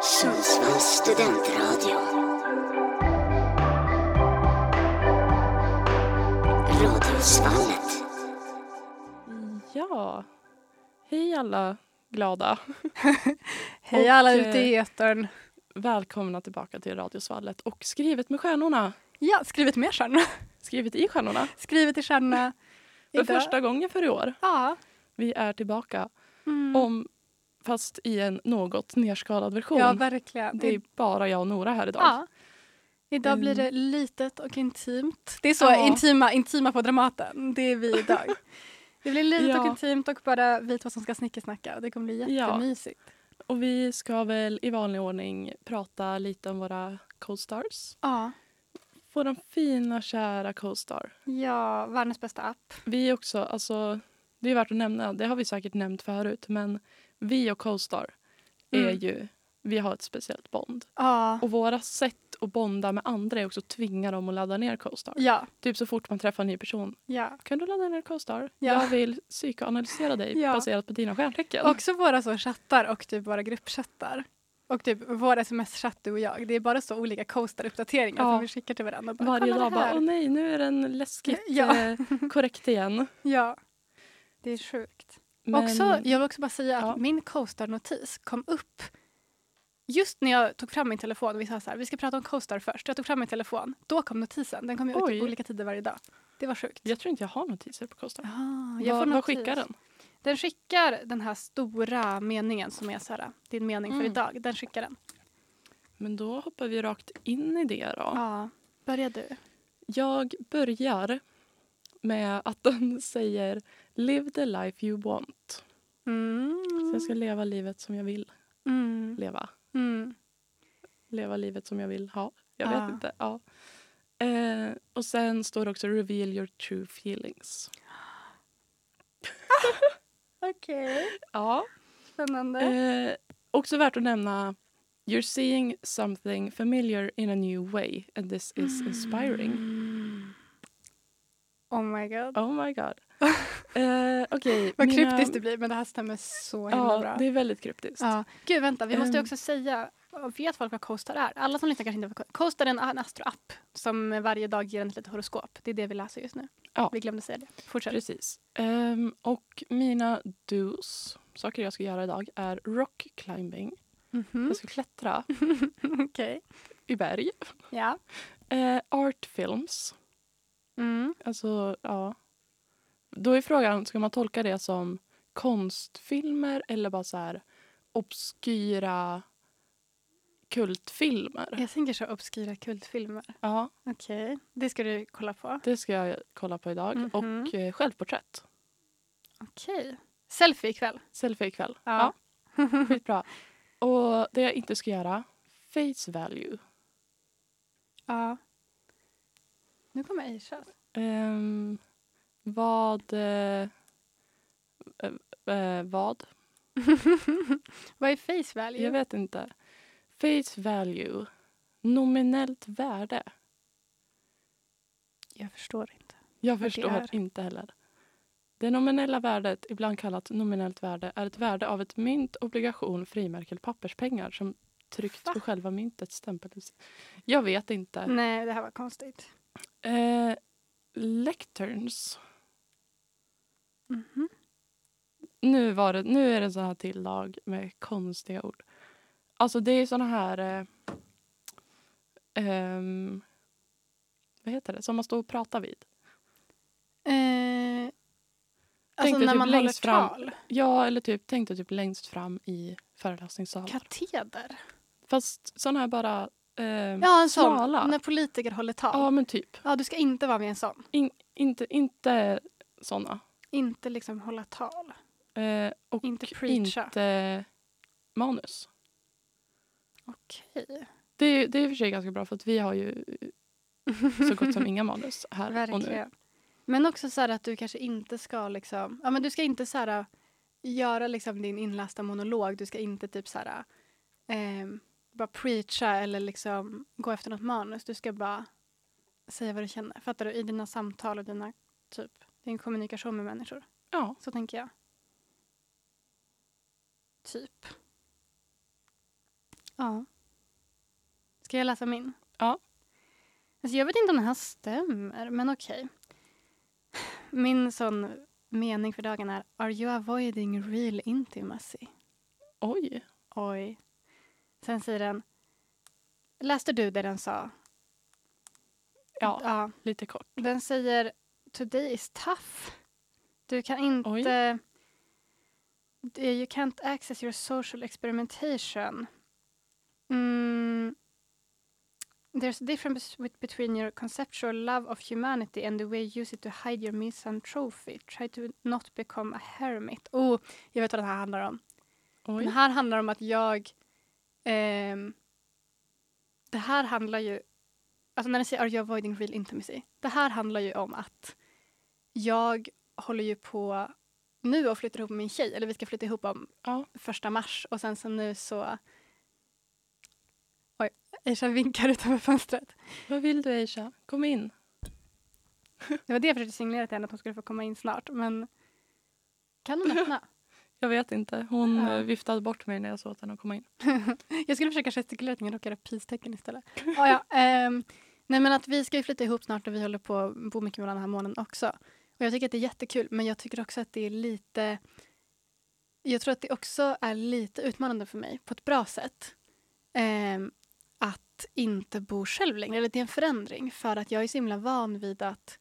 Sundsvalls studentradio. Radiosvallet. Ja. Hej alla glada. Hej alla Och, eh, ute i etern. Välkomna tillbaka till Radiosvallet och skrivet med stjärnorna. Ja, skrivit med stjärna. Skrivet i stjärnorna. Skrivit i stjärna. För Idag- första gången för i år. Ja. Vi är tillbaka. Mm. Om, fast i en något nerskalad version. ja, verkligen. det är bara jag och Nora här idag. ja. Idag Mm. blir det litet och intimt. Det är så Ja. intima, intima på Dramaten. Det är vi idag. Det blir litet Ja. och intimt och bara vi två som ska snickesnacka. Det kommer bli Ja. jättemysigt. Och vi ska väl i vanlig ordning prata lite om våra co-stars. Ja. Vår fina kära co-star. Ja, världens bästa app. Vi är också, alltså, det är värt att nämna, det har vi säkert nämnt förut, men vi och co-star är Mm. ju, vi har ett speciellt bond. Ja. Och våra sätt att bonda med andra är också att tvinga dem att ladda ner Coadstar. Ja. Typ så fort man träffar en ny person. ja. Kan du ladda ner Coadstar? Ja. Jag vill psykoanalysera dig Ja. baserat på dina stjärntecken. Också våra så chattar och typ våra gruppchattar. Och typ vår sms-chatt du och jag. Det är bara så olika coaster-uppdateringar Ja. som vi skickar till varandra. Bara, Varje "Kolla dag det bara, här." åh nej, nu är den läskigt Ja. eh, korrekt igen. Ja. Det är sjukt. Men- Också, jag vill också bara säga att Ja. min coaster-notis kom upp just när jag tog fram min telefon. Vi sa så här, vi ska prata om coaster först. Jag tog fram min telefon. Då kom notisen. Den kom ju ut Oj. på olika tider varje dag. Det var sjukt. Jag tror inte jag har notiser på Coadstar. Ah, jag får Vad, vad notis. skickar den? Den skickar den här stora meningen som är så här, din mening för Mm. idag. Den skickar den. Men då hoppar vi rakt in i det då. Ja. Börja du. Jag börjar med att den säger Live the life you want. Så Mm. jag ska leva livet som jag vill Mm. leva. Mm. leva livet som jag vill ha. Jag Ah. vet inte. Ja. Eh, och sen står det också reveal your true feelings. Okej, Ja. spännande. Eh, också värt att nämna You're seeing something familiar in a new way and this is Mm. inspiring. Oh my god. Oh my god. Eh, Okej. Vad mina- kryptiskt det blir, men det här stämmer så himla Ja, bra. det är väldigt kryptiskt. Ja. Gud, vänta. Vi måste ju Ehm. också säga... Vet folk vad Coaster är? Alla som lyssnar kanske inte vet vad Coaster är en, en astroapp som varje dag ger en ett litet horoskop. Det är det vi läser just nu. Ja. Vi glömde säga det. Fortsätt. Precis. Ehm, och mina dos, saker jag ska göra idag, är rock climbing. Mhm. Jag ska klättra Okej. i berg. Ja. Eh, art films. Mm. Alltså, ja. Då är frågan, ska man tolka det som konstfilmer eller bara så här obskyra kultfilmer? Jag tänker så obskyra kultfilmer. Ja, Okej. Det ska du kolla på. det ska jag kolla på idag. Mhm. Och eh, självporträtt. Okej. Selfie ikväll. Selfie ikväll. Ja. ja. Skitbra. Och det jag inte ska göra, face value. Ja. Nu kommer Aisha. Ehm, vad... Eh, eh, eh, vad? Vad är face value? Jag vet inte. Face value. Nominellt värde. Jag förstår inte. Jag det förstår är. inte heller. Det nominella värdet, ibland kallat nominellt värde, är ett värde av ett mynt, obligation, frimärke eller papperspengar som tryckt Va? på själva myntets stämpel. Jag vet inte. Nej, det här var konstigt. Eh, lecterns. Mhm. Nu, var det, nu är det såna här tilllag med konstiga ord. Alltså det är såna här... Eh, ehm, vad heter det? Som man står och pratar vid. Eh, alltså Tänkte när typ man håller längst fram. tal. Ja, eller typ tänkte typ längst fram i föreläsningssalen. Kateder. Fast sån här bara... Eh, ja. Ja, en sån. Smala. När politiker håller tal. Ja. men typ. du ska inte vara med i en sån. Inte, inte såna. Inte liksom hålla tal. Eh, och Inte preacha. inte manus. Okej, Det, är- det är i och för sig ganska bra för att vi har ju så gott som inga manus här och nu. verkligen. Men också så här att du kanske inte ska liksom... Ja, men du ska inte så här äh, göra liksom din inlästa monolog. Du ska inte typ så här ehm, bara preacha eller liksom gå efter något manus. Du ska bara säga vad du känner. Fattar du? I dina samtal och dina typ din kommunikation med människor. Ja, Så tänker jag. Typ. Ja. Ska jag läsa min? Ja. Alltså jag vet inte om den här stämmer, men okej. Min sån mening för dagen är Are you avoiding real intimacy? Oj. Oj. Sen säger den Läste du det den sa? Ja, ja. lite kort. Den säger Today is tough. Du kan inte... D- You can't access your social experimentation. Mm. There's a difference bet- between your conceptual love of humanity and the way you use it to hide your misanthropy. Try to not become a hermit. Oh, jag vet vad den här handlar om. Oj. Den här handlar om att jag... ehm, det här handlar ju... Alltså när den säger “Are you avoiding real intimacy?” Det här handlar ju om att jag håller ju på nu och flyttar ihop med min tjej. Eller vi ska flytta ihop om Ja. första mars. Och sen så nu så... Oj, Aisha vinkar utanför fönstret. Vad vill du Aisha? Kom in. Det var det jag försökte signalera till henne, att hon skulle få komma in snart. Men kan hon öppna? Jag vet inte. Hon Ja. eh, viftade bort mig när jag såg att henne komma in. Jag skulle försöka gestikulera men jag råkade göra peace-tecken istället. Ah, ja, ehm, nej men att vi ska ju flytta ihop snart och vi håller på att bo mycket med varandra den här månaden också. Och jag tycker att det är jättekul men jag tycker också att det är lite... Jag tror att det också är lite utmanande för mig på ett bra sätt. ehm, att inte bo själv längre. Eller det är en förändring för att jag är så himla van vid att...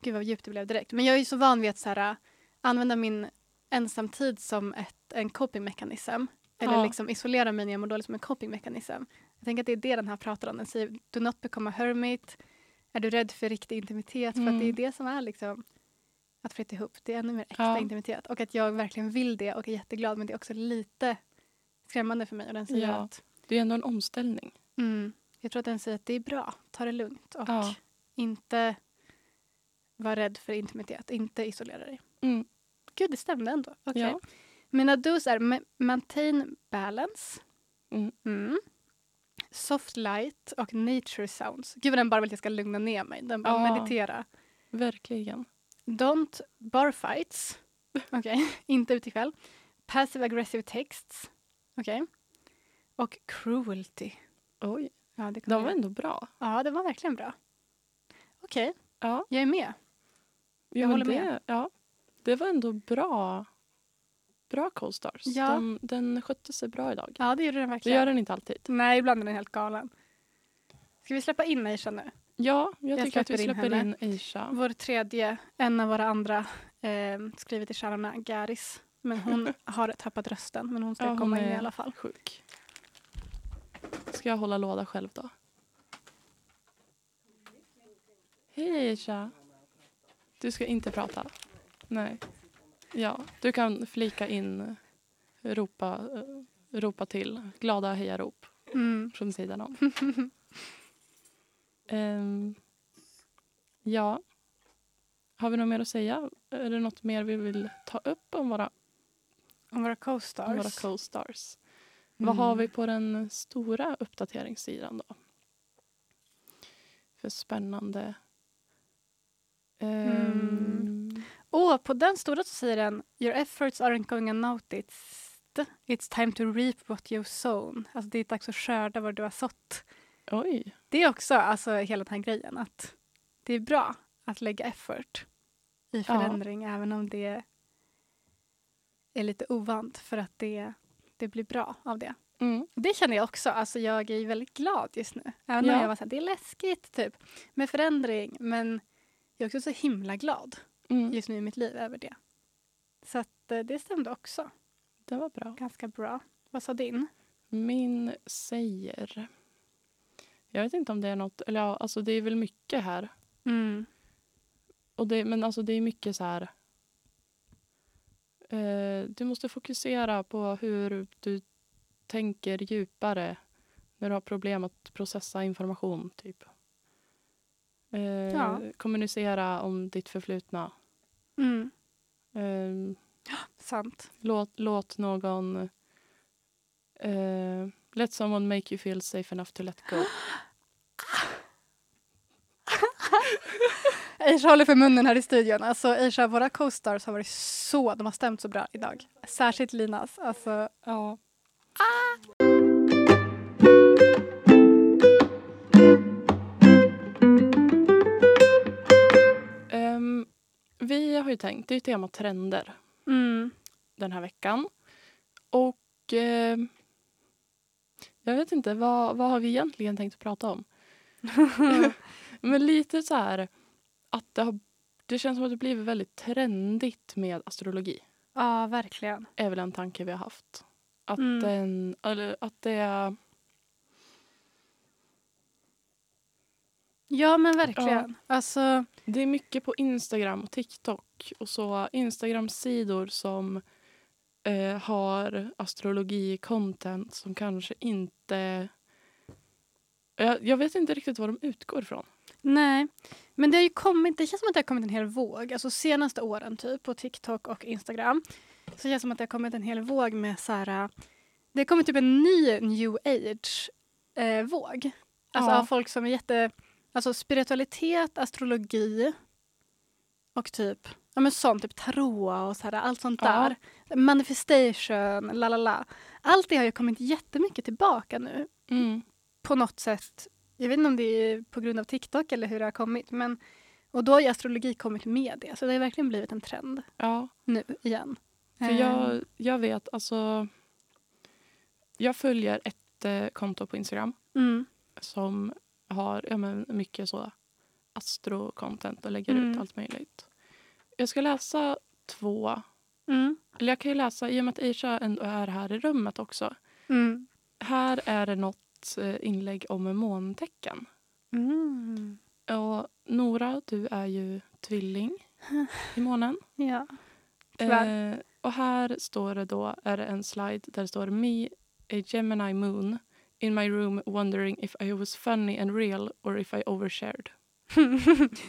Gud vad djupt det blev direkt. Men jag är ju så van vid att så här, äh, använda min ensamtid som ett, en copingmekanism. Eller Ja. liksom isolera mig när jag mår dåligt som en copingmekanism. Jag tänker att det är det den här pratar om. Den säger do not become a hermit. Är du rädd för riktig intimitet? För att det är Mm. det som är liksom att flytta ihop. Det är ännu mer äkta Ja. intimitet. Och att jag verkligen vill det och är jätteglad. Men det är också lite skrämmande för mig. Och den säger Ja. att Det är ändå en omställning. Mm. Jag tror att den säger att det är bra. Ta det lugnt och Ja. inte var rädd för intimitet. Inte isolera dig. Mm. Gud, det stämde ändå. Okej. Ja. Mina dos är ma- maintain balance. Mm. Mm. Soft light och nature sounds. Gud vad den bara vill att jag ska lugna ner mig. Den bara Ja. meditera. Verkligen. Don't bar fights. Okej, inte ut ikväll. Passive aggressive texts. Okej. Och cruelty. Oj. Ja, det kommer De var jag- ändå bra. Ja, det var verkligen bra. Okej, Ja. jag är med. Jo, Jag men håller det, med. Ja, det var ändå bra, bra Co-Stars. Ja. De, den skötte sig bra idag. Ja, det gjorde den Det verkligen. gör den inte alltid. Nej, ibland är den helt galen. Ska vi släppa in Aisha nu? Ja, jag, Jag tycker att vi släpper in släpper in, henne. Aisha. Vår tredje, en av våra andra, eh, skrivit i kärnorna, Garis. Men hon har tappat rösten, men hon ska Ja, hon komma in i är- alla fall. Sjuk. Ska jag hålla låda själv då? Hej Aisha. Du ska inte prata? Nej. Ja, du kan flika in, ropa, eh, ropa till. Glada hejarop. Mm. från sidan om. Ehm, ja. Har vi något mer att säga? Är det något mer vi vill ta upp om våra, om Om våra våra co-stars. co-stars? Vad har vi på den stora uppdateringssidan då? För spännande... Ehm, Åh, på den stora så säger den Your efforts aren't going unnoticed. It's time to reap what you've sown. Alltså det är dags att skörda vad du har sått. Oj. Det är också alltså, hela den här grejen att det är bra att lägga effort i förändring även om det är lite ovant för att det, det blir bra av det. Mm. Det känner jag också. Alltså, jag är ju väldigt glad just nu. Även om Ja. jag var så här, det är läskigt typ med förändring men jag är också så himla glad Mm. just nu i mitt liv över det. Så att, eh, det stämde också Det var bra. ganska bra. Vad sa din? Min säger... Jag vet inte om det är något... Eller ja, alltså det är väl mycket här. Mm. Och det, men alltså det är mycket så här... Eh, du måste fokusera på hur du tänker djupare när du har problem att processa information. typ. Eh, Ja. Kommunicera om ditt förflutna. Mm. Eh, Sant. låt, låt någon... Eh, let someone make you feel safe enough to let go. Aisha håller för munnen här i studion. Alltså Aisha, våra co-stars har varit så, de har stämt så bra idag. Särskilt Linas. Alltså, Ja. tänkt, det är Ehm, ju tema trender Mm. den här veckan. Och eh, jag vet inte, vad, vad har vi egentligen tänkt prata om? Men lite så här att det, har, det känns som att det blivit väldigt trendigt med astrologi. Ja, verkligen. är väl en tanke vi har haft. Att, Mm. den, eller, att det är... Ja, men verkligen. Alltså, Det är mycket på Instagram och TikTok. Och så Instagram-sidor som eh, har astrologi-content som kanske inte... Jag, jag vet inte riktigt vad de utgår ifrån. nej. Men det har ju kommit, det känns som att det har kommit en hel våg, alltså senaste åren typ, på TikTok och Instagram. Så det känns som att det har kommit en hel våg med så här, äh, det har kommit typ en ny new age-våg. alltså Ja. av folk som är jätte, alltså spiritualitet, astrologi och typ, ja men sånt, typ tarot och så här, allt sånt Ja. där. Manifestation, la la la. Allt det har ju kommit jättemycket tillbaka nu Mm, på något sätt, jag vet inte om det är på grund av TikTok eller hur det har kommit, men och då har ju astrologi kommit med det, så det har verkligen blivit en trend Ja, nu igen. för Eh, jag, jag vet alltså... Jag följer ett eh, konto på Instagram mm, som har ja, men mycket så astro-content och lägger ut Mm. allt möjligt. Jag ska läsa två. mm, Eller jag kan ju läsa, i och med att Aisha ändå är här i rummet också. mm, Här är det något eh, inlägg om måntecken. mm. Och Nora, du är ju tvilling i månen. Ja. Tyvärr. Eh, och här står det då, är det en slide där det står Me, a Gemini moon, in my room wondering if I was funny and real or if I overshared.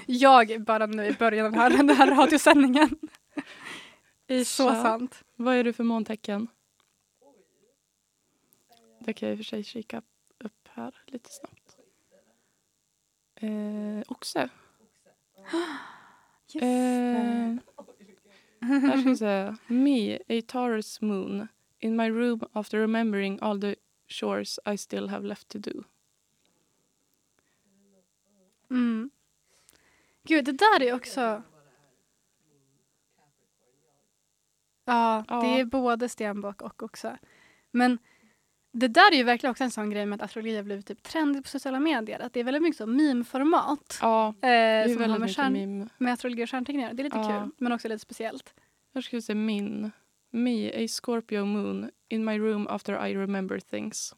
Jag bara nu i början av den här, den här radiosändningen. Så Aisha, sant. Vad är du för måntecken? Det kan jag i och för sig kika upp här lite snabbt. Eh, oxe. Just Eh, det. här ska vi se. Me, a Taurus moon. In my room after remembering all the chores I still have left to do. Mm. Gud, det där är också... Ja, Ja. det är både stenbock och också. Men det där är ju verkligen också en sån grej med att astrologi har blivit typ trendigt på sociala medier. Att det är väldigt mycket så meme-format Ja, det eh, är som har väldigt med, mycket stjärn, meme. med astrologi och stjärntecken att göra. Det är lite Ja. kul, men också lite speciellt. Här ska vi se min. Me, a Scorpio moon. In my room after I remember things.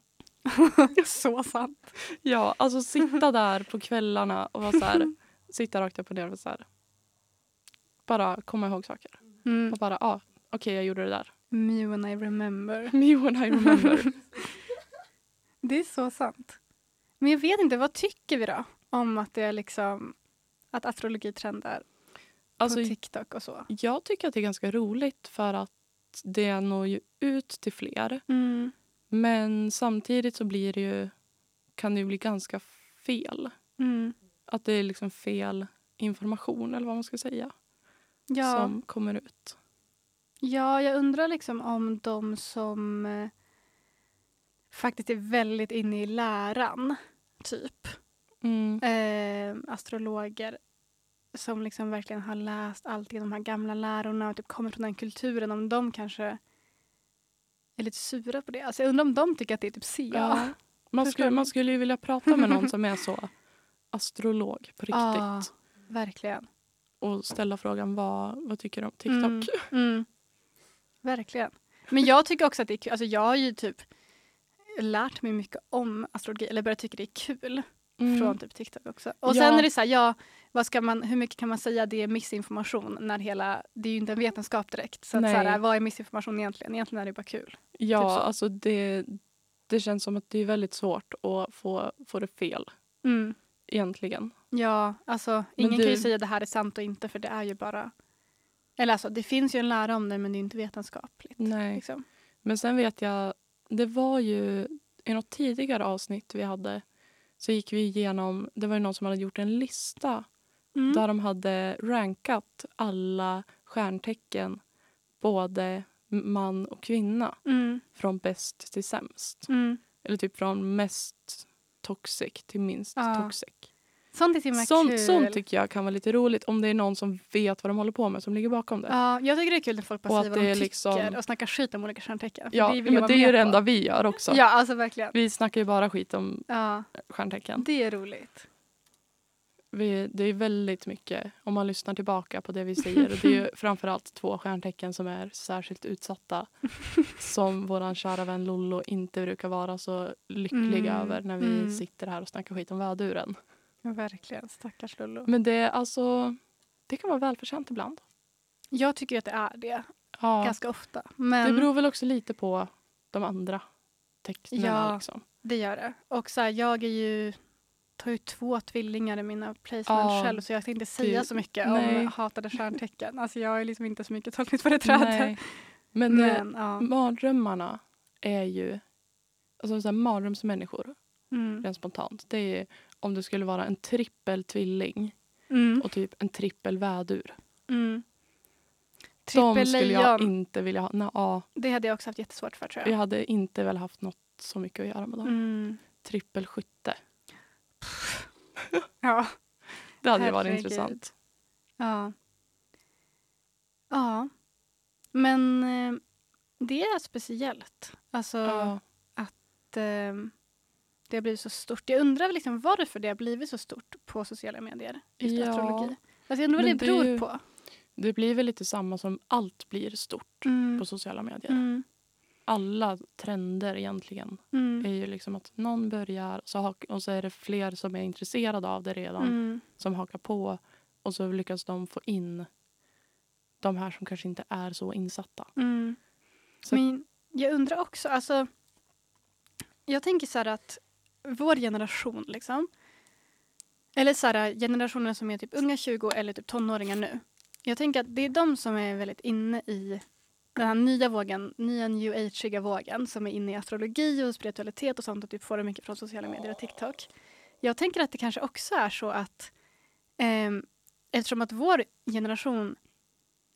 så sant. Ja, alltså sitta där på kvällarna och vara så här, sitta rakt upp och ner och så här, bara komma ihåg saker. Mm. Och bara, ja, ah, okej jag gjorde det där. Me when I remember. Me when I remember. Det är så sant. Men jag vet inte, vad tycker vi då? Om att det är liksom att astrologi trendar Alltså, på TikTok och så. jag tycker att det är ganska roligt för att det når ju ut till fler. Mm. Men samtidigt så blir det ju, kan det ju bli ganska fel. Mm. Att det är liksom fel information eller vad man ska säga Ja, som kommer ut. ja, jag undrar liksom om de som eh, faktiskt är väldigt inne i läran, typ Mm. eh, astrologer som liksom verkligen har läst allt i de här gamla lärorna och typ kommer från den kulturen, om de kanske är lite sura på det. Alltså jag undrar om de tycker att det är typ C. Ja. Man, Förstår skulle, du? man skulle ju vilja prata med någon som är så astrolog på riktigt Ja. Verkligen. och ställa frågan vad, vad tycker du om TikTok? Mm, mm. Verkligen. Men jag tycker också att det är kul. Alltså jag har ju typ lärt mig mycket om astrologi, eller börjat tycka det är kul Mm. från typ TikTok också. Och Ja. sen är det så här, ja, vad ska man, hur mycket kan man säga det är missinformation när hela, det är ju inte en vetenskap direkt. Så, att så Nej. här, vad är missinformation egentligen? Egentligen är det bara kul. Ja, typ så. alltså det, det känns som att det är väldigt svårt att få, få det fel Mm. egentligen. Ja, alltså ingen du- kan ju säga det här är sant och inte för det är ju bara, eller alltså det finns ju en lära om det men det är ju inte vetenskapligt. Nej. Liksom. Men sen vet jag, det var ju i något tidigare avsnitt vi hade så gick vi igenom, det var ju någon som hade gjort en lista Mm. där de hade rankat alla stjärntecken, både man och kvinna, Mm. från bäst till sämst. Mm. Eller typ från mest toxic till minst Ja. toxic. Sånt är så himla Sånt, kul. sånt tycker jag kan vara lite roligt om det är någon som vet vad de håller på med som ligger bakom det. Ja, jag tycker det är kul när folk Och bara att säger vad det de är tycker liksom- och snackar skit om olika stjärntecken. För Ja, vill jag men vara det är ju med det på. enda vi gör också. Ja, alltså verkligen. Vi snackar ju bara skit om Ja, stjärntecken. det är roligt. Vi, det är väldigt mycket, om man lyssnar tillbaka på det vi säger. och Det är ju framförallt två stjärntecken som är särskilt utsatta. Som vår kära vän Lollo inte brukar vara så lycklig Mm, över när vi mm. sitter här och snackar skit om väduren. Ja, Verkligen. Stackars Lollo. Men det är alltså, det kan vara välförtjänt ibland. Jag tycker ju att det är det. Ja, Ganska ofta. Men det beror väl också lite på de andra tecknen. Ja. Liksom. Det gör det. Och så här, jag är ju, tar ju två tvillingar i mina placements Ja, själv så jag tänkte inte säga det- så mycket nej. om hatade stjärntecken. Alltså jag är liksom inte så mycket tolkning för det trädet. Nej. Men, eh, Men mm, ja. mardrömmarna är ju... Alltså så här, mardrömsmänniskor, Mm. rent spontant. Det är om du skulle vara en trippel tvilling Mm. och typ en trippel vädur. Mm. De skulle jag Trippellejon, inte vilja ha. Nej, ja, det hade jag också haft jättesvårt för tror jag jag. hade inte väl haft något så mycket att göra med dem. Mm. Trippelskytte. Ja. Det hade ju varit Herregud. intressant. ja. Ja. Men eh, det är speciellt. Alltså Ja. att eh, det har blivit så stort. Jag undrar liksom varför det har blivit så stort på sociala medier. Just Ja. astrologi. Alltså jag undrar vad det Men det är beror ju- på. Det blir väl lite samma som allt blir stort Mm. på sociala medier. Mm. Alla trender egentligen är Mm. ju liksom att någon börjar så hak- och så är det fler som är intresserade av det redan. Mm. som hakar på och så lyckas de få in de här som kanske inte är så insatta. Mm. Så- Men jag undrar också, alltså, jag tänker så här att vår generation liksom, eller så här, generationen som är typ unga 20 eller typ tonåringar nu. Jag tänker att det är de som är väldigt inne i den här nya vågen, nya new age vågen som är inne i astrologi och spiritualitet och sånt och typ får det mycket från sociala medier och TikTok. Jag tänker att det kanske också är så att ehm, eftersom att vår generation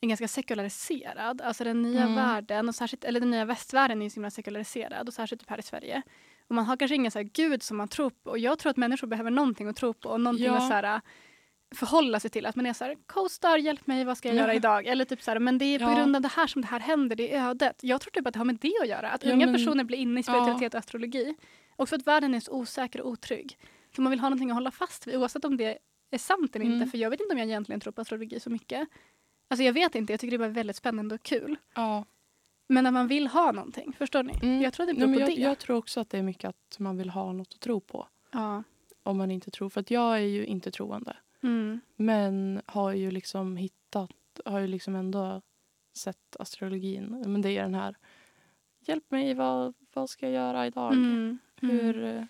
är ganska sekulariserad, alltså den nya Mm. världen och särskilt, eller den nya västvärlden är ju så himla sekulariserad och särskilt typ här i Sverige. Och man har kanske ingen så här gud som man tror på och jag tror att människor behöver någonting att tro på och någonting Ja. att så här, äh, förhålla sig till. Att man är så här, co-star, hjälp mig, vad ska jag Ja. göra idag? Eller typ så här, men det är på Ja. grund av det här som det här händer, det är ödet. Jag tror typ att det har med det att göra, att Ja, unga men- personer blir inne i spiritualitet och astrologi. Och för att världen är så osäker och otrygg. Så man vill ha någonting att hålla fast vid oavsett om det är sant eller Mm. inte. För jag vet inte om jag egentligen tror på astrologi så mycket. Alltså jag vet inte, jag tycker det är bara väldigt spännande och kul. Ja. Men när man vill ha någonting, förstår ni? Mm. Jag tror att det Nej, beror men på jag, det. jag tror också att det är mycket att man vill ha något att tro på. Ja. Om man inte tror. För att jag är ju inte troende. Mm. Men har ju liksom hittat, har ju liksom ändå sett astrologin. Men det är den här, hjälp mig, vad, vad ska jag göra idag? Mm. Mm. Hur, eh,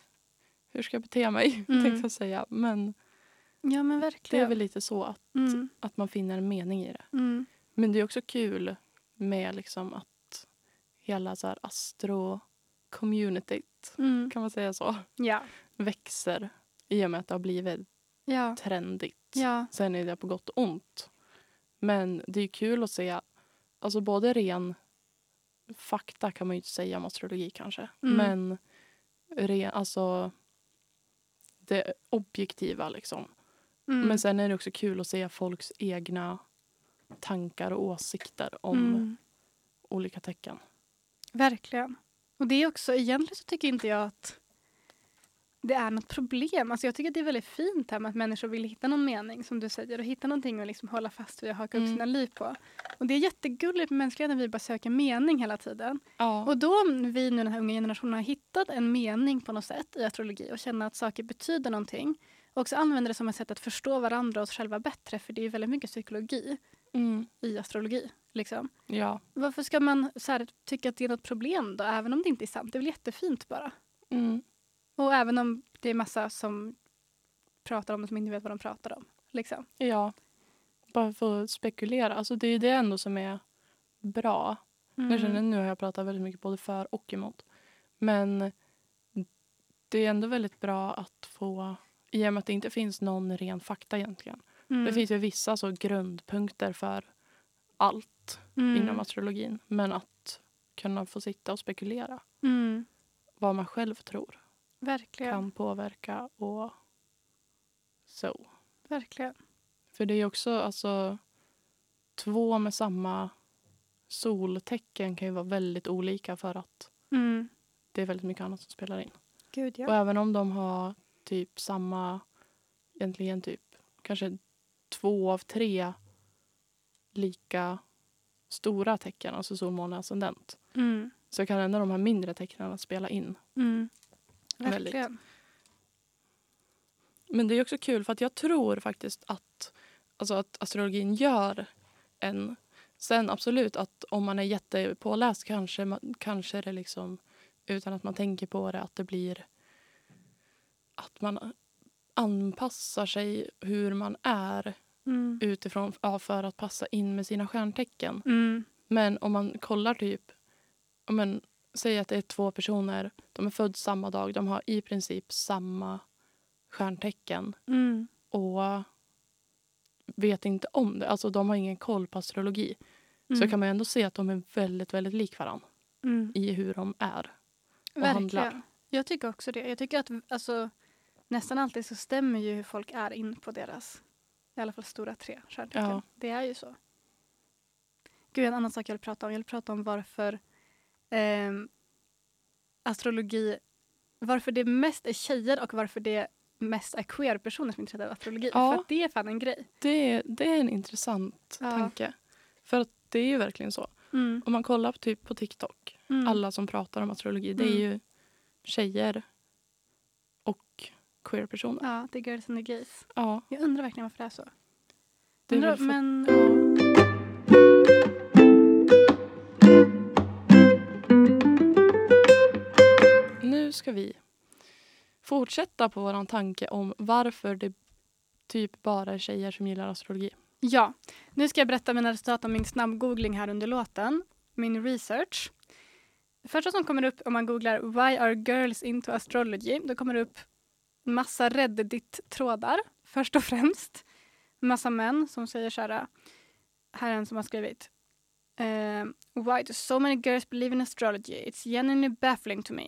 hur ska jag bete mig? Mm. Tänkte jag säga. Men Ja men det är verkligen. väl lite så att, Mm. att man finner en mening i det. Mm. Men det är också kul med liksom att hela så här astro-communityt, Mm. kan man säga så, Ja. växer i och med att det har blivit Ja. trendigt. Ja. Sen är det på gott och ont. Men det är kul att se, alltså både ren fakta kan man ju inte säga om astrologi kanske, Mm. men ren, alltså det objektiva liksom. Mm. Men sen är det också kul att se folks egna tankar och åsikter om Mm. olika tecken. Verkligen. Och det är också, egentligen så tycker inte jag att det är något problem. Alltså jag tycker att det är väldigt fint här med att människor vill hitta någon mening som du säger och hitta någonting att liksom hålla fast vid och haka upp Mm. sina liv på. Och det är jättegulligt med mänskligheten, vi bara söker mening hela tiden. Ja. Och då om vi nu den här unga generationen har hittat en mening på något sätt i astrologi och känner att saker betyder någonting och också använder det som ett sätt att förstå varandra och oss själva bättre för det är ju väldigt mycket psykologi Mm. i astrologi. Liksom. Ja. Varför ska man så här, tycka att det är något problem då, även om det inte är sant? Det är väl jättefint bara? Mm. Och även om det är massa som pratar om det som inte vet vad de pratar om. Liksom. ja. Bara för att spekulera. Alltså det är ju det ändå som är bra. Jag Mm. känner, nu har jag pratat väldigt mycket både för och emot. Men det är ändå väldigt bra att få... I och med att det inte finns någon ren fakta egentligen. Mm. Det finns ju vissa så grundpunkter för allt Mm. inom astrologin. Men att kunna få sitta och spekulera. Mm. vad man själv tror Verkligen. kan påverka och so. Verkligen. För det är också alltså två med samma soltecken kan ju vara väldigt olika för att Mm. det är väldigt mycket annat som spelar in. Gud, Och ja. även om de har typ samma, egentligen typ kanske två av tre lika stora tecken, alltså sol, måne, ascendent, Mm. så kan ändå de här mindre tecknen spela in. Mm. Väldigt. Verkligen. Men det är också kul för att jag tror faktiskt att, alltså att astrologin gör en... Sen absolut att om man är jättepåläst kanske, man, kanske det liksom utan att man tänker på det att det blir att man anpassar sig hur man är Mm. utifrån ja, för att passa in med sina stjärntecken. Mm. Men om man kollar typ, ja, men, säg att det är två personer, de är födda samma dag, de har i princip samma stjärntecken Mm. och vet inte om det. Alltså de har ingen koll på astrologi. Så Mm. kan man ändå se att de är väldigt, väldigt lik varandra Mm. i hur de är. och handlar. Jag tycker också det. Jag tycker att alltså, nästan alltid så stämmer ju hur folk är in på deras, i alla fall stora tre stjärntecken. Ja. Det är ju så. Gud, en annan sak jag vill prata om. Jag vill prata om varför ehm, astrologi, varför det mest är tjejer och varför det mest är queer-personer som är intresserade av astrologi. Ja. För att det är fan en grej. Det, är- det är en intressant Ja. tanke. För att det är ju verkligen så. Mm. Om man kollar på, typ på TikTok, Mm. alla som pratar om astrologi, det är Mm. ju tjejer och queer-personer. Ja. Ja, det är girls and the gays. Jag undrar verkligen varför det är så. Det är Undrar- väl för- men, Nu ska vi fortsätta på vår tanke om varför det typ bara är tjejer som gillar astrologi. Ja, nu ska jag berätta mina resultat om min snabbgoogling här under låten. Min research. Första som kommer upp om man googlar “Why are girls into astrology?” då kommer det upp massa Reddit-trådar, först och främst. Massa män som säger så här. Här är en som har skrivit. ehm, “Why do so many girls believe in astrology? It's genuinely baffling to me.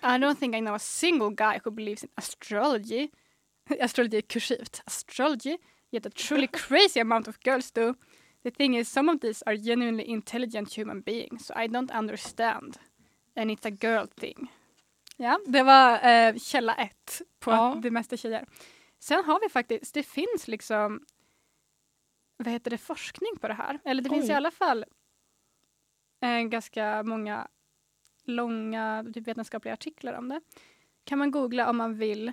I don't think I know a single guy who believes in astrology. Astrology är kursivt. Astrology yet a truly crazy amount of girls do. The thing is, some of these are genuinely intelligent human beings, so I don't understand. And it's a girl thing. Ja, det var eh, källa ett på Ja. det mesta tjejer. Sen har vi faktiskt, det finns liksom, vad heter det, forskning på det här. Eller det finns Oj. i alla fall eh, ganska många långa typ, vetenskapliga artiklar om det. Kan man googla om man vill.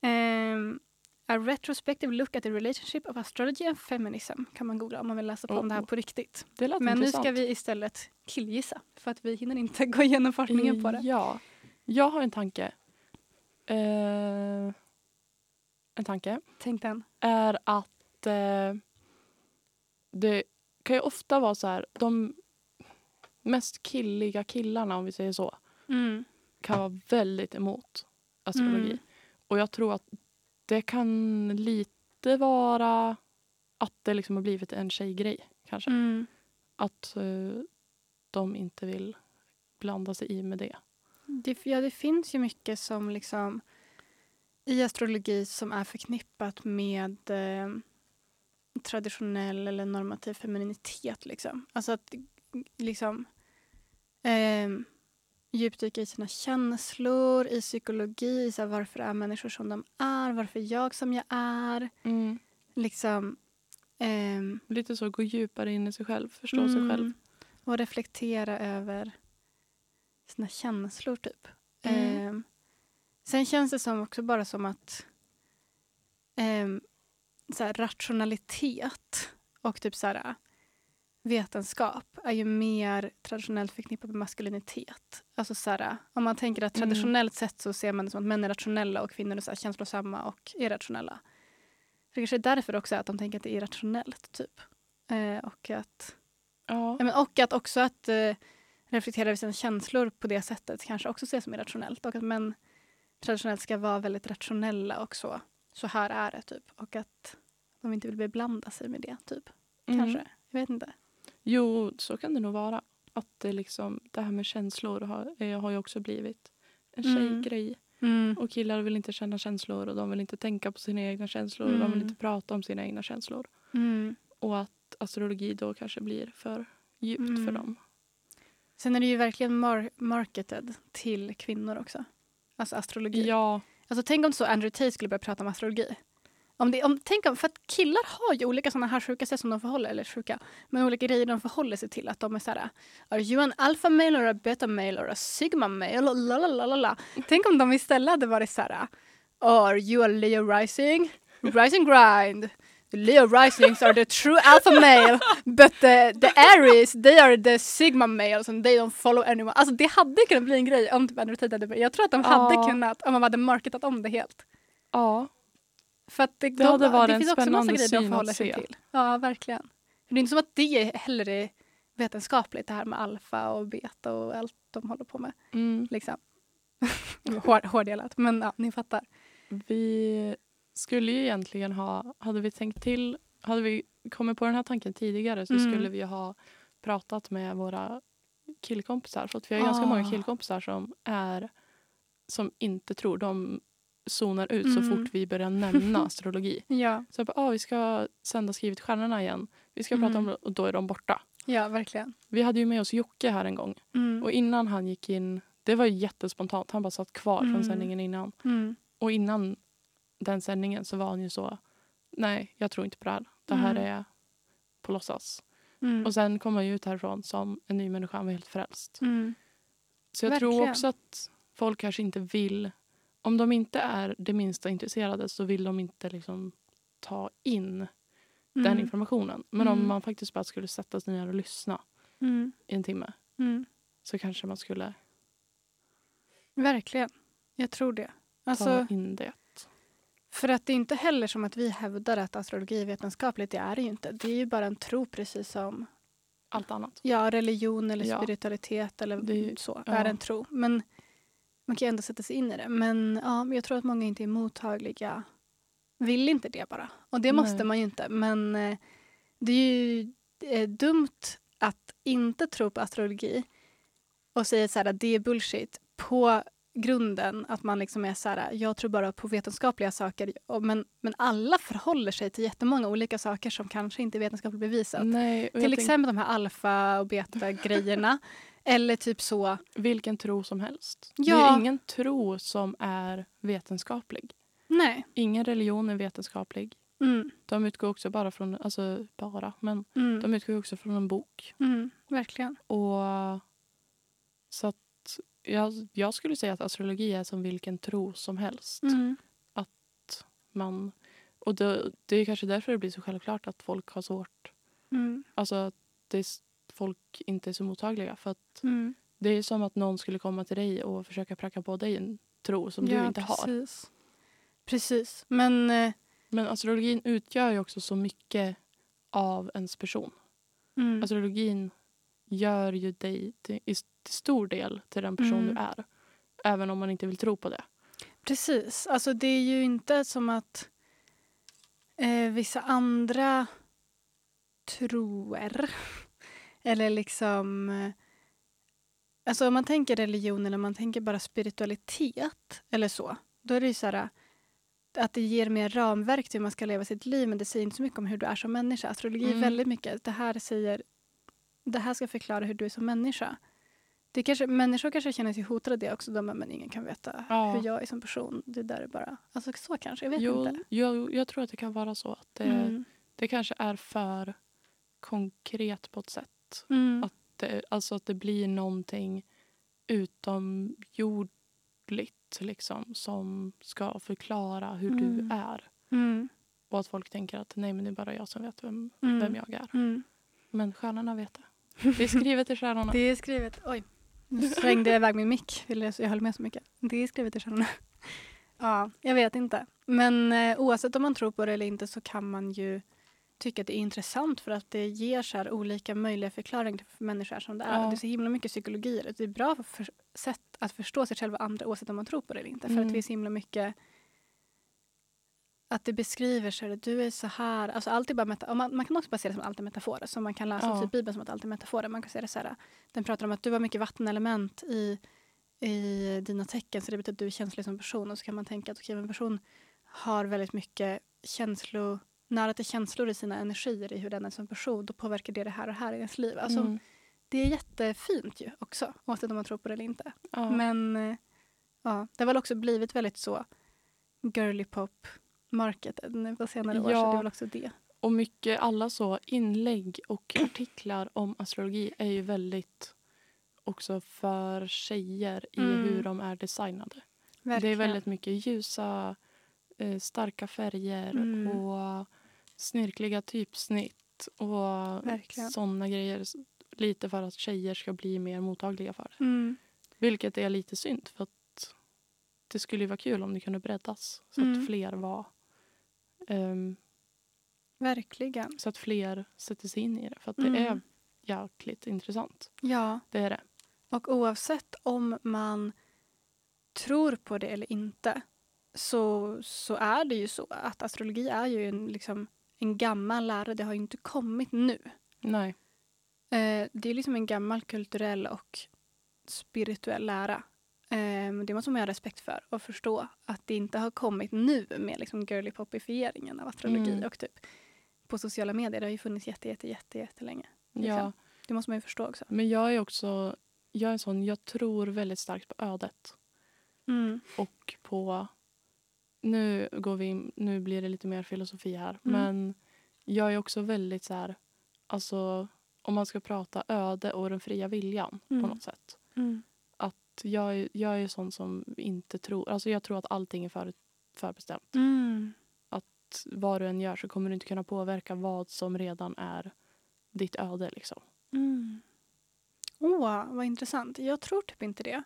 Ehm, A retrospective look at the relationship of astrology and feminism kan man googla om man vill läsa på om det här Oh. på riktigt. Det lät Men nu intressant. ska vi istället killgissa för att vi hinner inte gå igenom forskningen på det. Ja. Jag har en tanke. Eh, en tanke Tänk den. är att eh, det kan ju ofta vara så här, de mest killiga killarna om vi säger så Mm. kan vara väldigt emot astrologi. Mm. Och jag tror att det kan lite vara att det liksom har blivit en tjejgrej kanske. Mm. Att eh, de inte vill blanda sig i med det. Det, ja, det finns ju mycket som liksom i astrologi som är förknippat med eh, traditionell eller normativ femininitet. Liksom. Alltså att liksom, eh, djupdyka i sina känslor, i psykologi, i så här, varför är människor som de är, varför är jag som jag är. Liksom, ehm, Lite så gå djupare in i sig själv, förstå sig själv. Mm. Och reflektera över sina känslor, typ. Mm. Ehm, sen känns det som också bara som att ehm, så här, rationalitet och typ så här, vetenskap är ju mer traditionellt förknippat med maskulinitet. Alltså så här, om man tänker att Mm. traditionellt sett så ser man det som att män är rationella och kvinnor är så här, känslosamma och irrationella. Så det kanske är därför också att de tänker att det är irrationellt, typ. Eh, och att Ja. Ja, men och att också att eh, reflektera över sina känslor på det sättet kanske också ses som irrationellt. Och att män traditionellt ska vara väldigt rationella och så. Så här är det, typ. Och att de inte vill beblanda sig med det, typ. Mm. Kanske. Jag vet inte. Jo, så kan det nog vara. Att det, liksom, det här med känslor har, eh, har ju också blivit en Mm. tjejgrej. Mm. Och killar vill inte känna känslor och de vill inte tänka på sina egna känslor och de Mm. vill inte prata om sina egna känslor. Mm. Och att astrologi då kanske blir för djupt för Mm. dem. Sen är det ju verkligen mar- marketed till kvinnor också. Alltså astrologi. Ja, Alltså tänk om så Andrew Tate skulle börja prata om astrologi. Om det, om, tänk om, för att killar har ju olika sådana här sjuka sätt som de förhåller eller sjuka, men olika grejer de förhåller sig till. Att de är såhär, are you an alpha male or a beta male or a sigma male? La, la, la, la, la. Tänk om de istället hade varit såhär, are you a Leo rising? Rise and grind. The Leo risings are the true alpha male, but the, the Aries, they are the sigma males and they don't follow anyone. Alltså det hade kunnat bli en grej om typ Andrew Tate hade Jag tror att de hade Ja. kunnat, om man hade marketat om det helt. ja, För att det, de, hade varit det en finns också massa spännande grejer syn de att förhåller sig se. till. Ja, verkligen. För det är inte som att det heller är vetenskapligt det här med alfa och beta och allt de håller på med. mm. Liksom. Hår, hårdelat, men ja, ni fattar. Vi skulle ju egentligen ha, hade vi tänkt till, hade vi kommit på den här tanken tidigare så Mm. skulle vi ju ha pratat med våra killkompisar. För att vi har ganska Ah. många killkompisar som är, som inte tror, de zonar ut så Mm. fort vi börjar nämna astrologi. Ja, Så jag bara, ah, vi ska sända Skrivet stjärnorna igen. Vi ska prata om Mm. det och då är de borta. ja verkligen. Vi hade ju med oss Jocke här en gång Mm. och innan han gick in, det var ju jättespontant, han bara satt kvar Mm. från sändningen innan. Mm. Och innan den sändningen så var han ju så, nej jag tror inte på det här. Det här Mm. är på låtsas. Mm. Och sen kom han ju ut härifrån som en ny människa, han var helt frälst. Mm. Så jag tror Verkligen. också att folk kanske inte vill, om de inte är det minsta intresserade så vill de inte liksom ta in den Mm. informationen. Men om Mm. man faktiskt bara skulle sätta sig ner och lyssna Mm. i en timme Mm. så kanske man skulle Verkligen. Jag tror det. ta Alltså, in det. för att det är inte heller som att vi hävdar att astrologi är vetenskapligt, det är det ju inte. Det är ju bara en tro precis som Allt annat. Ja, religion eller Ja. spiritualitet eller Det är ju- så ja. är en tro. Men man kan ju ändå sätta sig in i det. Men ja, men jag tror att många inte är mottagliga. Vill inte det bara. Och det måste Nej. man ju inte. Men eh, det är ju eh, dumt att inte tro på astrologi och säga så här att det är bullshit på grunden att man liksom är så här, jag tror bara på vetenskapliga saker. Och- Men, men alla förhåller sig till jättemånga olika saker som kanske inte är vetenskapligt bevisat. Nej, och jag Till tänker, exempel de här alfa och beta-grejerna. eller typ så. vilken tro som helst. Det Ja. är ingen tro som är vetenskaplig. Nej. Ingen religion är vetenskaplig. Mm, De utgår också bara från, alltså bara, men mm, de utgår också från en bok. mm, verkligen. Och så att jag, jag skulle säga att astrologi är som vilken tro som helst. Mm, Man, och det, det är kanske därför det blir så självklart att folk har svårt mm, Alltså att det är s- folk inte är så mottagliga. För att mm. det är som att någon skulle komma till dig och försöka pracka på dig en tro som du Ja, inte har. precis. Precis. Men eh, Men astrologin utgör ju också så mycket av ens person. mm, Astrologin gör ju dig till, i s- till stor del till den person Mm. du är. Även om man inte vill tro på det. precis. Alltså det är ju inte som att eh, vissa andra troer eller liksom eh, Alltså om man tänker religion eller man tänker bara spiritualitet eller så, då är det ju så här eh, att det ger mer ramverk till hur man ska leva sitt liv men det säger inte så mycket om hur du är som människa. Astrologi Mm. är väldigt mycket, det här säger, det här ska förklara hur du är som människa. Det kanske, människor kanske känner sig hotade av det också, de bara, men ingen kan veta Ja. hur jag är som person. Det där är bara, alltså så kanske, jag vet Jo, inte. jag, jag tror att det kan vara så att det, Mm. det kanske är för konkret på ett sätt. Mm. att det, alltså att det blir någonting utomjordligt liksom, som ska förklara hur Mm. du är. Mm. Och att folk tänker att nej men det är bara jag som vet vem, Mm. vem jag är. Mm. Men stjärnorna vet det. Det är skrivet i stjärnorna. Det är skrivet... Oj, nu svängde jag iväg min mick. Vill jag- Jag höll med så mycket. Det är skrivet i stjärnorna. Ja, jag vet inte. Men eh, oavsett om man tror på det eller inte så kan man ju tycka att det är intressant för att det ger så här olika möjliga förklaringar till för människor som det är. Ja. Det är så himla mycket psykologi i det. Det är bra för, för sätt att förstå sig själv och andra oavsett om man tror på det eller inte. För Mm. att vi är så himla mycket att det beskriver så här, du är så här. Alltså allt är bara meta- och man, man kan också bara se det som allt är metaforer. Så man kan läsa Ja. typ Bibeln som att allt är metaforer. Man kan se det så här, den pratar om att du har mycket vattenelement i i dina tecken så det betyder att du är känslig som person. Och så kan man tänka att okej, men en person har väldigt mycket känslo, nära till känslor i sina energier i hur den är som person. Då påverkar det det här och det här i ens liv. Alltså, Mm. Det är jättefint ju också, oavsett om man tror på det eller inte. Ja. Men eh, ja, det har väl också blivit väldigt så girly pop marketed nu på senare år. Så Ja. det är väl också det. Och mycket, alla så inlägg och artiklar om astrologi är ju väldigt också för tjejer i Mm. hur de är designade. Verkligen. Det är väldigt mycket ljusa, eh, starka färger Mm. och snirkliga typsnitt och Verkligen. såna grejer. S- Lite för att tjejer ska bli mer mottagliga för det. Mm, Vilket är lite synd för att det skulle ju vara kul om det kunde breddas så Mm. att fler var ehm, verkligen. så att fler sätter sig in i det. För att det Mm. är jäkligt intressant. Ja, Det är det. och oavsett om man tror på det eller inte så, så är det ju så att astrologi är ju en, liksom, en gammal lära. Det har ju inte kommit nu. Nej. Eh, det är liksom en gammal kulturell och spirituell lära. Eh, det måste man ha respekt för och förstå att det inte har kommit nu med liksom girly popifieringen av astrologi Mm. och typ på sociala medier. Det har ju funnits jätte, jätte, jätte, jättelänge. Ja. Liksom. Det måste man ju förstå också. Men jag är också jag är en sån, jag tror väldigt starkt på ödet. Mm. och på... Nu, går vi in, nu blir det lite mer filosofi här. Mm. Men jag är också väldigt så här... Alltså, om man ska prata öde och den fria viljan Mm. på något sätt. Att jag, är- jag är sån som inte tror... Alltså jag tror att allting är för, förbestämt. Mm. Vad du än gör så kommer du inte kunna påverka vad som redan är ditt öde. Liksom. Mm. Åh, vad intressant. Jag tror typ inte det.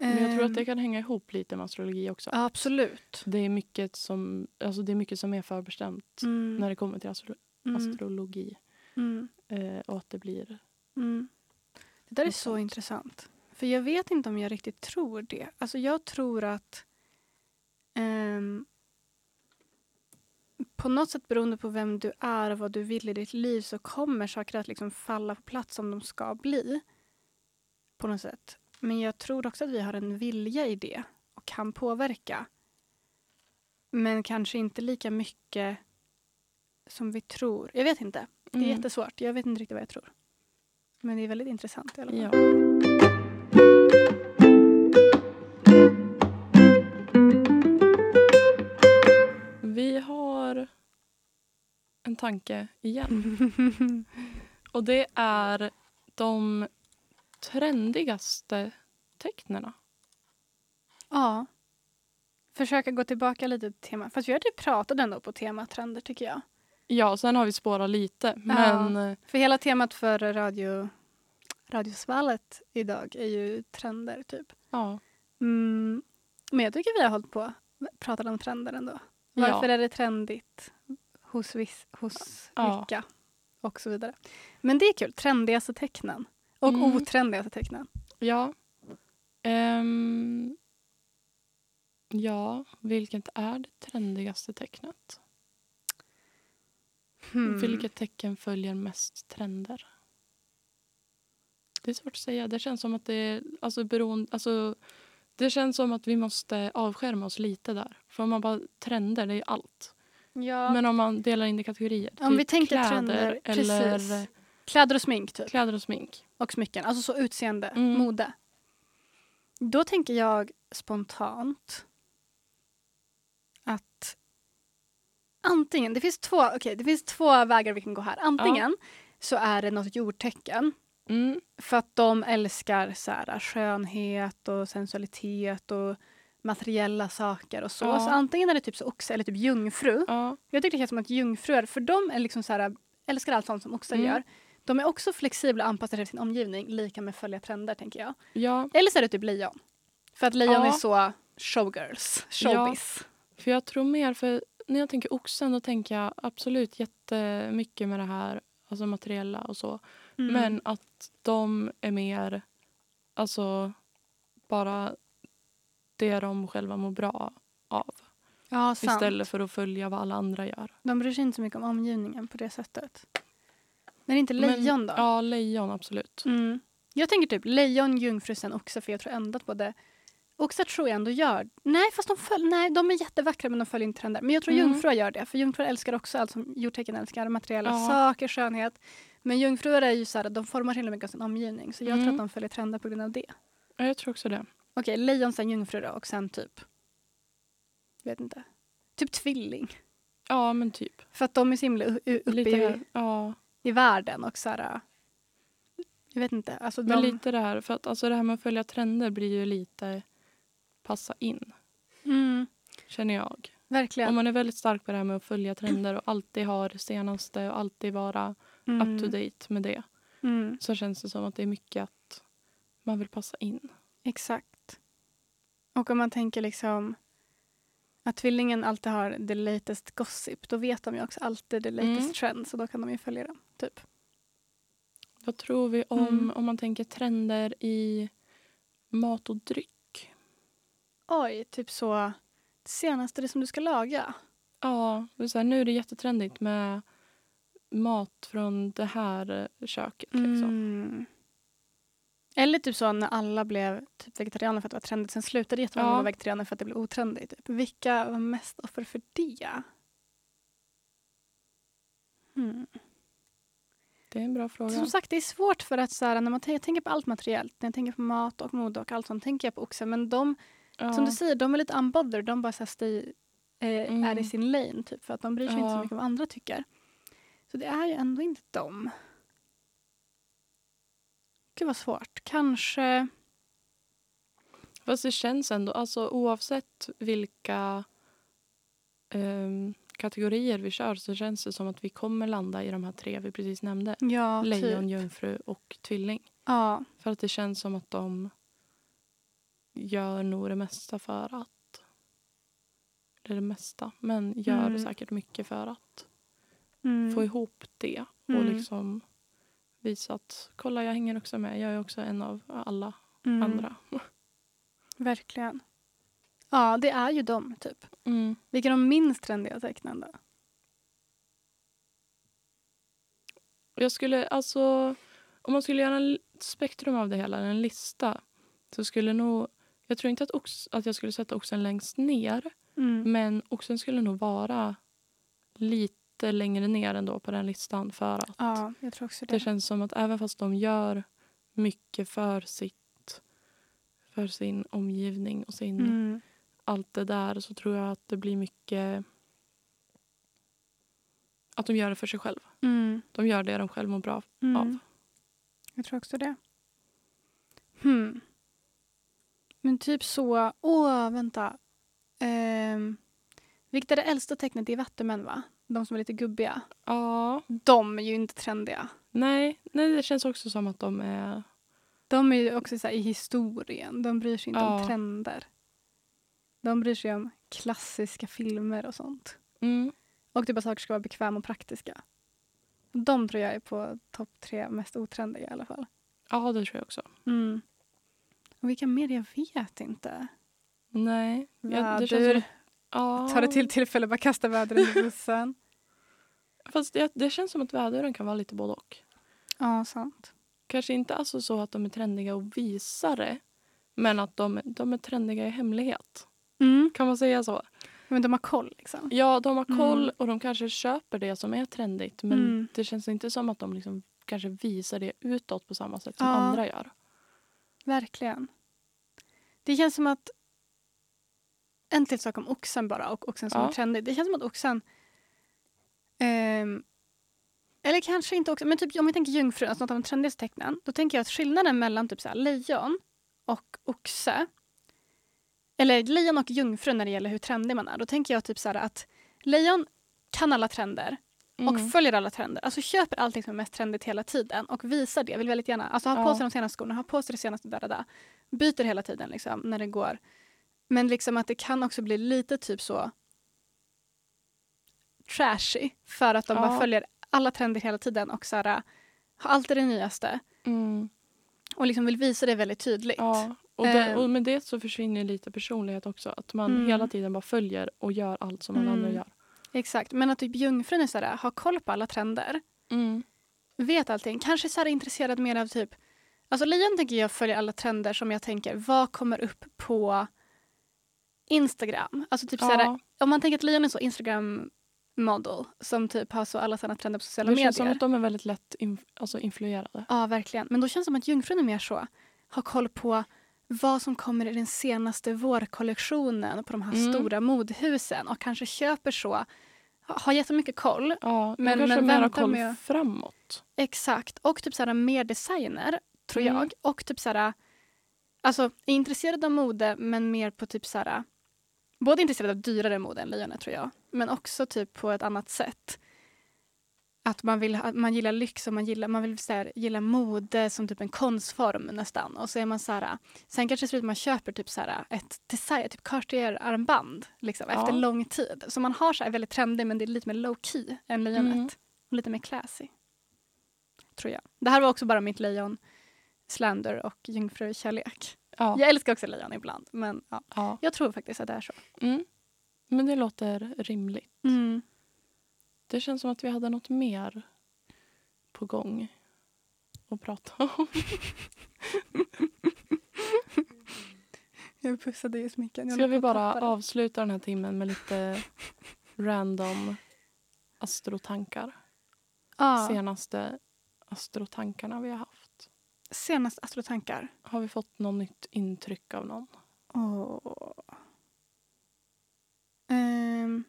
Men jag tror att Ehm, det kan hänga ihop lite med astrologi också. ja, Absolut. Det, är mycket som, alltså det är mycket som är förbestämt Mm. när det kommer till astro- Mm. astrologi. Mm. Eh, och att det blir... Mm. Det där är Något så sånt. intressant. För jag vet inte om jag riktigt tror det. Alltså jag tror att ehm, på något sätt beroende på vem du är och vad du vill i ditt liv så kommer saker att liksom falla på plats som de ska bli. På något sätt. Men jag tror också att vi har en vilja i det och kan påverka. Men kanske inte lika mycket som vi tror. Jag vet inte. Det är Mm. jättesvårt. Jag vet inte riktigt vad jag tror. Men det är väldigt intressant i alla fall. Ja. Vi har en tanke igen. och det är de trendigaste tecknena. Ja. Försöka gå tillbaka lite till temat. Fast vi har typ pratat ändå på tematrender tycker jag. Ja, sen har vi spårat lite. Men eh, För hela temat för radio, radiosvallet idag är ju trender typ. ja. Mm. Men jag tycker vi har hållit på pratat om trender ändå. Varför ja. är det trendigt hos, viss, hos Ja. vilka? Och så vidare. Men det är kul. Trendigaste tecknen. Och Mm. otrendigaste tecknen. Ja. Ehm, ja, vilket är det trendigaste tecknet? Hmm. Vilket tecken följer mest trender? Det är svårt att säga. Det känns som att det är, alltså, beroende, alltså, det känns som att vi måste avskärma oss lite där. För om man bara trender, det är ju allt. Ja. Men om man delar in det i kategorier. Om vi tänker Typ kläder trender, eller precis. Kläder och smink typ. kläder och smink. Och smycken. Alltså så utseende, Mm. mode. Då tänker jag spontant att antingen, det finns två, okej, det finns två vägar vi kan gå här. Antingen så är det något jordtecken Mm. för att de älskar så här, skönhet och sensualitet och materiella saker och så. Ja. Så antingen är det typ så oxe eller typ jungfru. Ja. Jag tycker det känns som att jungfrur, för de är liksom så här, älskar allt sånt som oxar Mm. gör. De är också flexibla och anpassade till sin omgivning, lika med följa trender tänker jag. ja, Eller så är det typ lejon. För att lejon Ja. är så showgirls, showbiz. för jag tror mer, för när jag tänker oxen då tänker jag absolut jättemycket med det här, alltså materiella och så. Mm. Men att de är mer... Alltså, bara det de själva mår bra av. ja, sant. Istället för att följa vad alla andra gör. De bryr sig inte så mycket om omgivningen på det sättet. Men inte Men- lejon då? Ja, lejon absolut. Mm. Jag tänker typ lejon, jungfrusen, oxe, för jag tror ändå att både Oxar tror jag ändå gör... Nej, fast de, följ, nej, de är jättevackra men de följer inte trender. Men jag tror Mm. jungfrur gör det, för jungfrur älskar också allt som jordtecken älskar. Materiella Ja. saker, skönhet. Men jungfrur är ju så här, att de formar himla mycket av sin omgivning. Så jag tror Mm. att de följer trender på grund av det. Ja, jag tror också det. Okej, lejon, sen jungfru då, och sen typ... Vet inte. Typ tvilling. Ja, men typ. För att de är så himla u- u- uppe Lite i, här, ja, i världen och så här... äh, Jag vet inte. Alltså men de, lite det här. För att alltså det här med att följa trender blir ju lite passa in, mm, känner jag. verkligen. Om man är väldigt stark på det här med att följa trender och alltid ha det senaste och alltid vara mm, up to date med det Mm, så känns det som att det är mycket att man vill passa in. exakt. Och om man tänker liksom att tvillingen alltid har the latest gossip, då vet de ju också alltid the latest Mm. trend, så då kan de ju följa den. Typ. Vad tror vi om, Mm. om man tänker trender i mat och dryck? Oj, typ så senaste det som du ska laga. Ja, det är så här, nu är det jättetrendigt med mat från det här köket. Liksom. Mm. Eller typ så när alla blev typ vegetarianer för att det var trendigt. Sen slutade jättemånga Ja. vara vegetarianer för att det blev otrendigt. Typ. Vilka var mest offer för det? Hmm. Det är en bra fråga. Som sagt, det är svårt för att så här, när man t- jag tänker på allt materiellt, när jag tänker på mat och mode och allt sånt, tänker jag på oxen. Men de, ja. som du säger, de är lite unbothered. De bara så här, stay, eh, Mm. är i sin lane, typ, för att de bryr sig inte så Ja. mycket om vad andra tycker. Så det är ju ändå inte dem. Gud vad svårt. Kanske... Fast det känns ändå, alltså, oavsett vilka ehm, kategorier vi kör så känns det som att vi kommer landa i de här tre vi precis nämnde. Ja, Lejon, Typ. jungfru och tvilling. Ja, För att det känns som att de gör nog det mesta för att... Eller det mesta, men gör Mm. säkert mycket för att mm. få ihop det och Mm. liksom visa att kolla, jag hänger också med. Jag är också en av alla mm. andra. Verkligen. Ja, det är ju dem, typ. Mm. Vilka är de minst trendiga tecknen då? Och Jag skulle alltså... Om man skulle göra en l- spektrum av det hela, en lista, så skulle nog... Jag tror inte att, ox, att jag skulle sätta oxen längst ner, Mm. men oxen skulle nog vara lite längre ner ändå på den listan för att Ja, jag tror också det. det känns som att även fast de gör mycket för sitt för sin omgivning och sin, mm. allt det där så tror jag att det blir mycket att de gör det för sig själva. Mm. De gör det de själva mår bra Mm. av. Jag tror också det. Hmm. Men typ så... Åh, vänta. Ehm, vilket är det äldsta tecknet? Det är Vattumän, va? De som är lite gubbiga. Ja. De är ju inte trendiga. Nej, nej, det känns också som att de är... De är ju också så här, i historien. De bryr sig inte om Ja. trender. De bryr sig om klassiska filmer och sånt. Mm, Och typ att saker ska vara bekväma och praktiska. De tror jag är på topp tre mest otrendiga i alla fall. ja, det tror jag också. Mm. Och vilka mer? Jag vet inte. Nej. Jag, Väder. att- ja, Ta det till tillfälle, bara kasta vädret under bussen. Fast det, det känns som att väduren kan vara lite både och. ja, sant. Kanske inte alltså så att de är trendiga och visare men att de, de är trendiga i hemlighet. Mm. Kan man säga så? Men de har koll liksom. Ja, de har koll Mm. och de kanske köper det som är trendigt men Mm. det känns inte som att de liksom kanske visar det utåt på samma sätt som Ja. andra gör. Verkligen. Det känns som att... En till sak om oxen bara och oxen som Ja. är trendig. Det känns som att oxen... ehm, eller kanske inte oxen, men typ, om jag tänker jungfrun, alltså något av de trendigaste tecknen. Då tänker jag att skillnaden mellan typ så här, lejon och oxe eller lejon och jungfru när det gäller hur trendig man är. Då tänker jag typ så här att lejon kan alla trender Mm. och följer alla trender. Alltså köper allting som är mest trendigt hela tiden och visar det. Vill väldigt gärna, alltså ha på Ja. sig de senaste skorna, ha på sig det senaste där, där, där. Byter hela tiden liksom när det går. Men liksom att det kan också bli lite typ så trashy för att de Ja. bara följer alla trender hela tiden och så här, har alltid det nyaste Mm. och liksom vill visa det väldigt tydligt. Ja. Och, det, Ehm. och med det så försvinner lite personlighet också. Att man Mm. hela tiden bara följer och gör allt som alla Mm. andra gör. Exakt, men att typ jungfrun är så Mm. här, har koll på alla trender, vet allting, kanske så här, är intresserad mer av typ Alltså Lian tänker jag följer alla trender som jag tänker, vad kommer upp på Instagram? Alltså typ så här, ja, om man tänker att Lian är så Instagram model som typ har så alla sina trender på sociala det medier. känns som att de är väldigt lätt inf- alltså influerade. Ja, verkligen. Men då känns det som att Jungfrun är mer så. Har koll på vad som kommer i den senaste vårkollektionen på de här Mm. stora modhusen och kanske köper så. Ha- Har jättemycket koll. Ja, de Men- kanske men mer har vänta koll med- framåt. Exakt. Och typ så här, mer designer, tror Mm. jag. Och typ så här, alltså är intresserad av mode men mer på typ så här, både intresserad av dyrare mode än lejonet tror jag, men också typ på ett annat sätt. Att man, vill, ha- man gillar lyx och man, gillar, man vill så här, gilla mode som typ en konstform nästan. Och så är man så här, sen kanske det ser ut att man köper typ så här, ett design, typ Cartier-armband liksom, Ja. efter lång tid. Så man har så här, väldigt trendig men det är lite mer low key än lejonet. Mm. Och lite mer classy. Tror jag. Det här var också bara mitt lejon, slander och jungfrukärlek. Ja, Jag älskar också lejon ibland, men ja. ja. jag tror faktiskt att det är så. Mm. Men det låter rimligt. Mm. Det känns som att vi hade något mer på gång att prata om. Jag pussade ju sminken. Ska vi bara avsluta den här timmen med lite random astrotankar? ja. Senaste astrotankarna vi har haft. Senast astrotankar. Har vi fått något nytt intryck av någon? Åh. Ehm.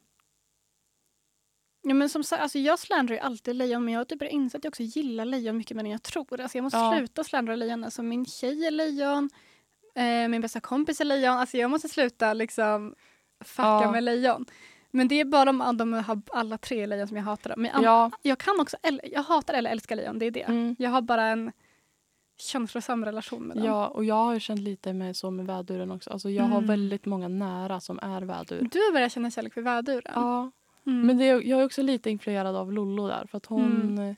Ja, men som sagt, alltså jag slandrar ju alltid lejon men jag har typ börjat inse att jag också gillar lejon mycket mer än jag tror. Alltså jag måste Ja. sluta slandra lejon. Alltså min tjej är lejon, eh, min bästa kompis är lejon. Alltså jag måste sluta liksom fucka Ja. med lejon. Men det är bara de, de har alla tre lejon som jag hatar. Men jag, Ja. jag kan också, äl- jag hatar eller älskar lejon, det är det. Mm. Jag har bara en känslosam relation med dem. Ja, och jag har ju känt lite med så med väduren också. Alltså jag har Mm. väldigt många nära som är vädur. Du börjar känna kärlek för väduren. Ja, Mm. men det, jag är också lite influerad av Lollo där för att hon eh,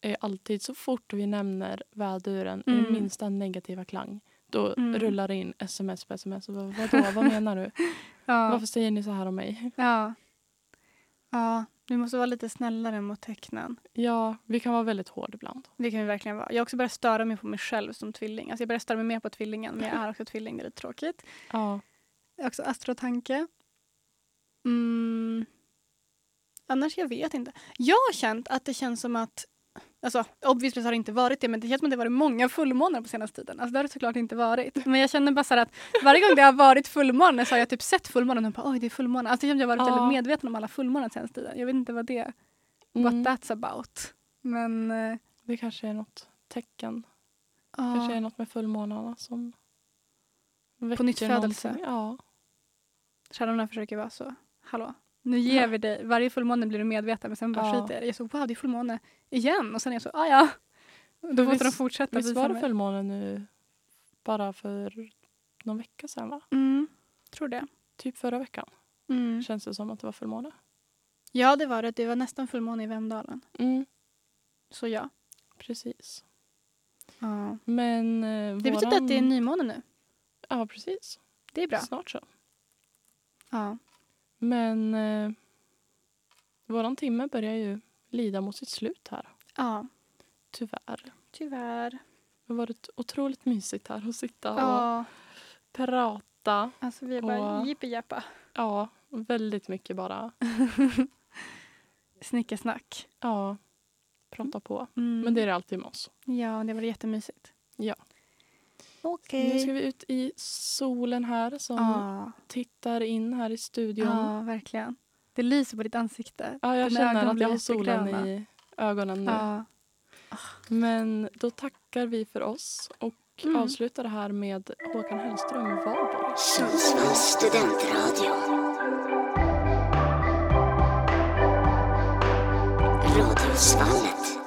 är alltid så fort vi nämner väduren i Mm. den minsta negativa klang då Mm. rullar det in sms på sms. Och bara, Vadå, vad menar du? Ja. Varför säger ni så här om mig? Ja. ja, vi måste vara lite snällare mot tecknen. Ja, vi kan vara väldigt hård ibland. Det kan vi verkligen vara. Jag har också börjat störa mig på mig själv som tvilling. Alltså jag börjar störa mig mer på tvillingen, men jag är också tvilling. Det är lite tråkigt. Ja, Jag har Också astrotanke. Mm. Annars, jag vet inte. Jag har känt att det känns som att Alltså, obviously så har det inte varit det, men det känns som att det har varit många fullmånar på senaste tiden. Alltså, det har det såklart inte varit. Men jag känner bara så här att varje gång det har varit fullmåne så har jag typ sett fullmånen och bara oj, det är fullmåne. Alltså, det känns som att jag har varit Ja. väldigt medveten om alla fullmånar senaste tiden. Jag vet inte vad det är. Mm. what that's about. Men eh, det kanske är något tecken. ja, kanske är något med fullmånarna som väcker nytt födelse. någonting. Ja. stjärnorna försöker vara så, hallå, nu ger vi dig, varje fullmåne blir du medveten men sen bara Ja. skiter jag i det. Jag är så wow det är fullmåne igen och sen är jag så ah ja. Då Men måste de visst- fortsätta Visst visa var det mig. fullmåne nu bara för någon vecka sedan? Va? Mm, tror det. Typ förra veckan Mm. känns det som att det var fullmåne. Ja det var det, det var nästan fullmåne i Vemdalen. Mm, Så ja. precis. ja. Men eh, Det betyder att det är nymåne nu. Ja, precis. Det är bra. Snart så. Ja. Men eh, våran timme börjar ju lida mot sitt slut här. ja, Tyvärr. tyvärr. Det har varit otroligt mysigt här att sitta och Ja, prata. alltså vi är bara Och- jippi-jappa. Ja, väldigt mycket bara. Snickesnack. Ja, prata på. Mm. Men det är det alltid med oss. Ja, det var jättemysigt. Ja. Nu Okej. ska vi ut i solen här som Ja. tittar in här i studion. Ja, Ja, verkligen. Det lyser på ditt ansikte. jag Dina känner ögon att blir jag har solen jättegröna. i ögonen nu. Ja. Men då tackar vi för oss och Mm. avslutar det här med Håkan Hellström och Valborg. Sundsvalls studentradio. Radiosvallet.